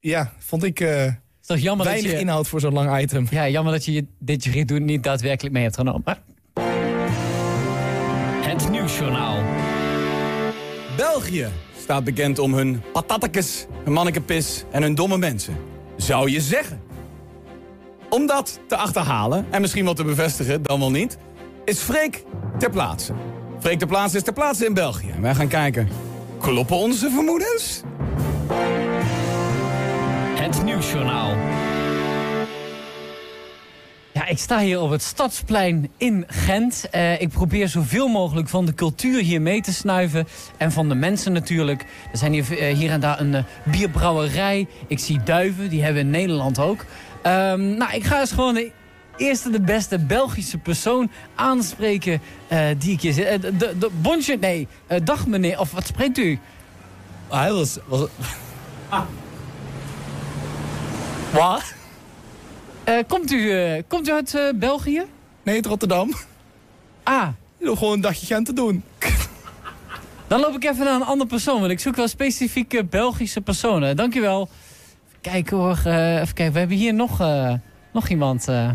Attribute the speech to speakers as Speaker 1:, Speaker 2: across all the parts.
Speaker 1: ja, vond ik eh,
Speaker 2: is toch jammer dat
Speaker 1: weinig
Speaker 2: je,
Speaker 1: inhoud voor zo'n lang item.
Speaker 2: ja, jammer dat je je dit je doen niet daadwerkelijk mee hebt genomen. Het Nieuwsjournaal.
Speaker 3: België staat bekend om hun patatekes, hun mannekepis en hun domme mensen. Zou je zeggen. Om dat te achterhalen en misschien wel te bevestigen, dan wel niet, is Freek ter plaatse. Freek ter plaatse is ter plaatse in België. En wij gaan kijken, kloppen onze vermoedens?
Speaker 2: Het Nieuwsjournaal. Ja, ik sta hier op het Stadsplein in Gent. Eh, ik probeer zoveel mogelijk van de cultuur hier mee te snuiven. En van de mensen natuurlijk. Er zijn hier, eh, hier en daar een eh, bierbrouwerij. Ik zie duiven, die hebben we in Nederland ook. Ehm, nou, ik ga eens gewoon de eerste de beste Belgische persoon aanspreken eh, die ik hier zit. Eh, de, de, bonjour, nee, eh, dag meneer. Of wat spreekt u?
Speaker 1: Ah, Hij was... was
Speaker 2: Wat? komt, u, eh, komt u uit eh, België?
Speaker 1: nee, het Rotterdam.
Speaker 2: Ah,
Speaker 1: Door gewoon een dagje Gent te doen.
Speaker 2: dan loop ik even naar een andere persoon, want ik zoek wel specifieke Belgische personen. Dankjewel. Even kijken hoor, eh, even kijken. We hebben hier nog, eh, nog iemand. eh.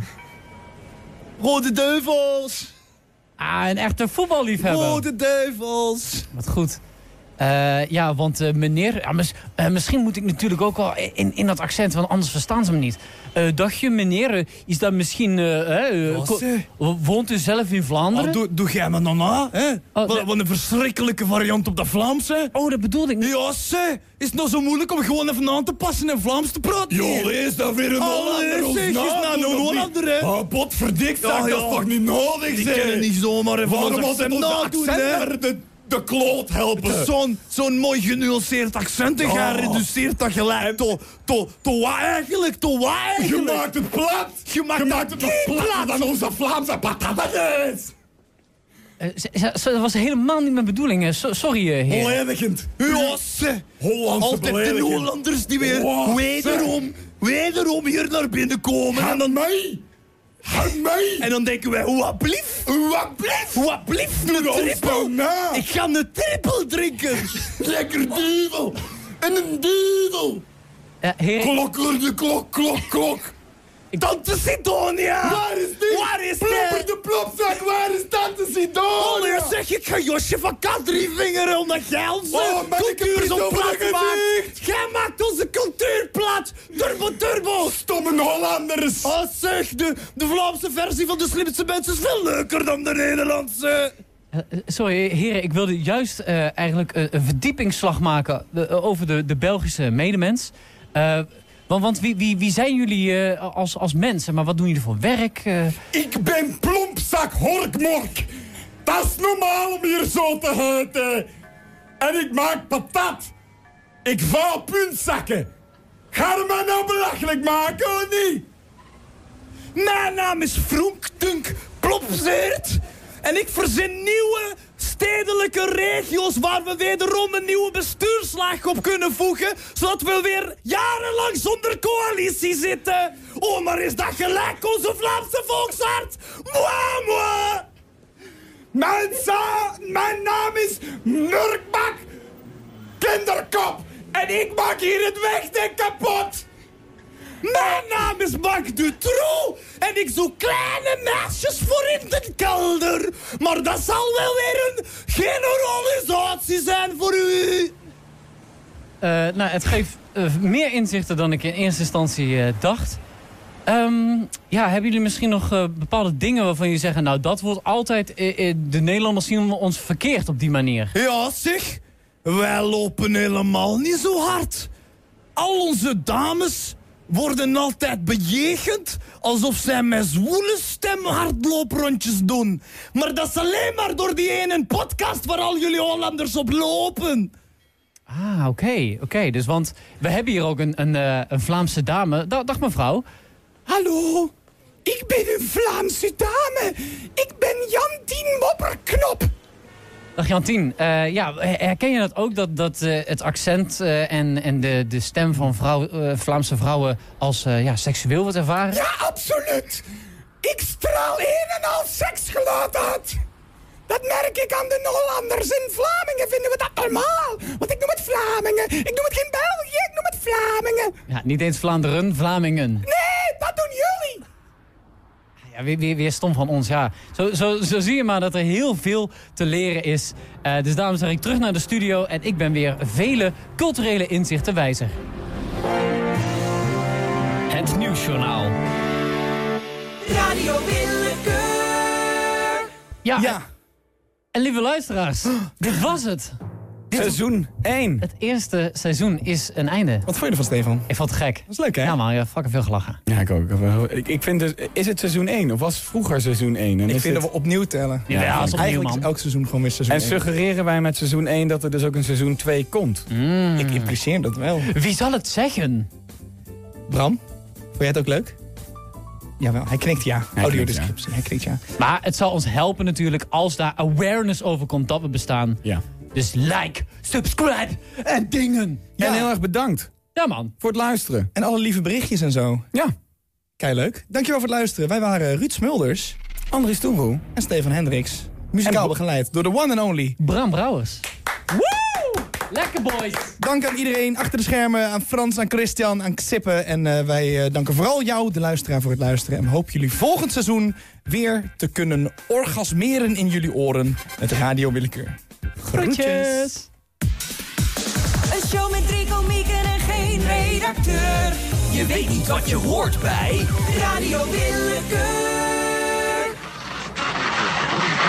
Speaker 1: Rode duivels!
Speaker 2: Ah, een echte voetballiefhebber.
Speaker 1: Rode duivels!
Speaker 2: Wat goed. Eh, ja, want eh, meneer... ja, mis- eh, misschien moet ik natuurlijk ook wel in, in dat accent, want anders verstaan ze me niet. Eh dagje meneer, eh, is dat misschien... eh, eh,
Speaker 1: Wat
Speaker 2: ko-
Speaker 1: zeg?
Speaker 2: woont u zelf in
Speaker 1: Ah,
Speaker 2: Vlaanderen?
Speaker 1: doe, doe jij me nou na, hè?
Speaker 2: nee.
Speaker 1: wat, wat een verschrikkelijke variant op dat Vlaams, hè?
Speaker 2: oh, dat bedoelde ik niet.
Speaker 1: Ja, zeg, is het nou zo moeilijk om gewoon even aan te passen en Vlaams te praten?
Speaker 4: Joh, is dat weer een Hollander?
Speaker 1: Allee,
Speaker 4: ons
Speaker 1: zeg, is
Speaker 4: nadoen,
Speaker 1: nou een
Speaker 4: of niet?
Speaker 1: Hollander, hè?
Speaker 4: Ah, potverdikt, zeg,
Speaker 1: Ja,
Speaker 4: dat
Speaker 1: ja.
Speaker 4: is toch niet nodig,
Speaker 1: Die
Speaker 4: zeg?
Speaker 1: kunnen niet zomaar even
Speaker 4: Waarom
Speaker 1: ons
Speaker 4: moet hem
Speaker 1: accent
Speaker 4: nadoen,
Speaker 1: accent
Speaker 4: hè?
Speaker 1: hebben?
Speaker 4: De, de kloot
Speaker 1: Het is
Speaker 4: helpen.
Speaker 1: nou zo'n zo'n mooi genuanceerd accent en jij
Speaker 4: Ja.
Speaker 1: reduceert dat gelijk tot... tot tot wat eigenlijk? Tot wat
Speaker 4: Je
Speaker 1: eigenlijk?
Speaker 4: maakt het plat.
Speaker 1: Je maakt
Speaker 4: het nog platter dan onze Vlaamse patates.
Speaker 2: Eh, z- z- z- dat was helemaal niet mijn bedoeling. eh. So- sorry, eh, heer.
Speaker 4: Beledigend.
Speaker 1: Ja, zeg.
Speaker 4: Hollandse
Speaker 1: Altijd de
Speaker 4: belediging.
Speaker 1: Hollanders die weer
Speaker 4: Wat,
Speaker 1: wederom, wederom hier naar binnen komen. En
Speaker 4: Aan
Speaker 1: dan,
Speaker 4: mij. Aan mij.
Speaker 1: en dan denken wij, wat blief,
Speaker 4: Wat blijft?
Speaker 1: wat blief, een trippel.
Speaker 4: na.
Speaker 1: Ik ga een trippel drinken.
Speaker 4: Lekker duivel. En een duivel.
Speaker 2: Eh, heer,
Speaker 4: Klok, de klok, klok, klok.
Speaker 1: Tante Sidonia!
Speaker 4: Waar is die?
Speaker 1: Waar is die?
Speaker 4: Plopper de plopzak, waar is tante
Speaker 1: Oh,
Speaker 4: Sidonia?
Speaker 1: nee, zeg, ik ga Josje van Kat drie vingeren omdat jij onze
Speaker 4: Oh, maar ik heb
Speaker 1: cultuur
Speaker 4: er
Speaker 1: zo
Speaker 4: zo
Speaker 1: plat
Speaker 4: plek
Speaker 1: maakt.
Speaker 4: niet.
Speaker 1: Jij maakt onze cultuur plat. Turbo,
Speaker 4: Oh,
Speaker 1: turbo.
Speaker 4: Stomme Hollanders.
Speaker 1: Oh, zeg, de, de Vlaamse versie van de slimste mensen is veel leuker dan de Nederlandse.
Speaker 2: eh, eh, sorry, heren, ik wilde juist eh, eigenlijk eh, een verdiepingsslag maken eh, over de, de Belgische medemens. Eh, want want wie, wie, wie zijn jullie eh, als, als mensen? Maar wat doen jullie voor werk? eh?
Speaker 4: Ik ben plompzak horkmork. Dat is normaal om hier zo te heten. En ik maak patat. Ik vouw puntzakken. Ga er mij nou belachelijk maken, of niet?
Speaker 1: Mijn naam is Vroenk Dunk Plopseert. En ik verzin nieuwe stedelijke regio's waar we wederom een nieuwe bestuurslaag op kunnen voegen. Zodat we weer jarenlang zonder coalitie zitten. Oh, maar is dat gelijk, onze Vlaamse volksarts? Moi, moi!
Speaker 4: Mensen, mijn naam is Nurkbak Kinderkop. En ik maak hier het wegdek kapot.
Speaker 1: Mijn naam is Mark Dutroux en ik zoek kleine meisjes voor in de kelder. Maar dat zal wel weer een generalisatie zijn voor u.
Speaker 2: Eh, nou, het geeft eh, meer inzichten dan ik in eerste instantie eh, dacht. Ehm, ja, hebben jullie misschien nog eh, bepaalde dingen waarvan jullie zeggen... nou, dat wordt altijd... eh, eh, de Nederlanders zien ons verkeerd op die manier.
Speaker 1: Ja, zeg. Wij lopen helemaal niet zo hard. Al onze dames worden altijd bejegend alsof zij met zwoele stem hardlooprondjes doen. Maar dat is alleen maar door die ene podcast waar al jullie Hollanders op lopen.
Speaker 2: Ah, oké. oké. Dus want we hebben hier ook een, een, eh, een Vlaamse dame. Da- dag mevrouw.
Speaker 1: Hallo, ik ben een Vlaamse dame. Ik ben Jantien Mopperknop.
Speaker 2: Dag Jantien. Eh, ja, herken je dat ook? Dat, dat eh, het accent eh, en, en de, de stem van vrouw, eh, Vlaamse vrouwen als eh, ja, seksueel wordt ervaren?
Speaker 1: Ja, absoluut. Ik straal een en al seksgeluid uit.
Speaker 5: Dat merk ik aan de Hollanders. In Vlamingen vinden we dat normaal. Want ik noem het Vlamingen. Ik noem het geen België, ik noem het Vlamingen.
Speaker 2: Ja, niet eens Vlaanderen, Vlamingen. Ah,
Speaker 5: Nee, dat doen jullie.
Speaker 2: Ja, weer, weer, weer stom van ons, ja. Zo, zo, zo zie je maar dat er heel veel te leren is. Eh, dus daarom zeg ik terug naar de studio en ik ben weer vele culturele inzichten wijzer. Het Nieuwsjournaal.
Speaker 6: Radio Willekeur.
Speaker 2: Ja,
Speaker 4: Ja,
Speaker 2: en lieve luisteraars, dit was het.
Speaker 4: seizoen 1.
Speaker 2: Het eerste seizoen is een einde.
Speaker 4: Wat vond je ervan, Stefan?
Speaker 2: Ik vond het gek.
Speaker 4: Dat is leuk, hè?
Speaker 2: Ja man, ja, fucking veel gelachen.
Speaker 4: Ja, ik ook. Ik, ik vind dus, is het seizoen 1 of was het vroeger seizoen 1? En
Speaker 1: Ik
Speaker 4: is
Speaker 1: vind
Speaker 4: dit-
Speaker 1: dat we opnieuw tellen.
Speaker 2: Ja, dat is opnieuw
Speaker 1: Eigenlijk is
Speaker 2: man.
Speaker 1: elk seizoen gewoon weer seizoen
Speaker 4: En
Speaker 1: één.
Speaker 4: suggereren wij met seizoen 1 dat er dus ook een seizoen 2 komt?
Speaker 1: Ik impliceer dat wel.
Speaker 2: Wie zal het zeggen?
Speaker 1: Bram, vond jij het ook leuk? Jawel, hij knikt ja.
Speaker 4: ja.
Speaker 1: Audiodescriptie, hij knikt ja.
Speaker 2: Maar het zal ons helpen natuurlijk als daar awareness over komt dat we bestaan.
Speaker 4: Ja.
Speaker 2: Dus like, subscribe en dingen.
Speaker 4: En heel erg bedankt
Speaker 2: Ja man.
Speaker 4: voor het luisteren.
Speaker 1: En alle lieve berichtjes en zo.
Speaker 4: Ja,
Speaker 1: Kei leuk. Dankjewel voor het luisteren. Wij waren Ruud Smulders
Speaker 4: Andries Toevoe.
Speaker 1: en Stefan Hendricks. Muzikaal
Speaker 4: En-
Speaker 1: begeleid door de one and only.
Speaker 2: Bram Brouwers. Woe! Lekker boys.
Speaker 1: Dank aan iedereen achter de schermen, aan Frans, aan Christian, aan Xippe. En eh, wij eh, danken vooral jou, de luisteraar, voor het luisteren. En we hopen jullie volgend seizoen weer te kunnen orgasmeren in jullie oren met Radio Willekeur.
Speaker 2: Groetjes.
Speaker 6: Een show met drie komieken en geen redacteur. Je weet niet wat je hoort bij Radio Willekeur.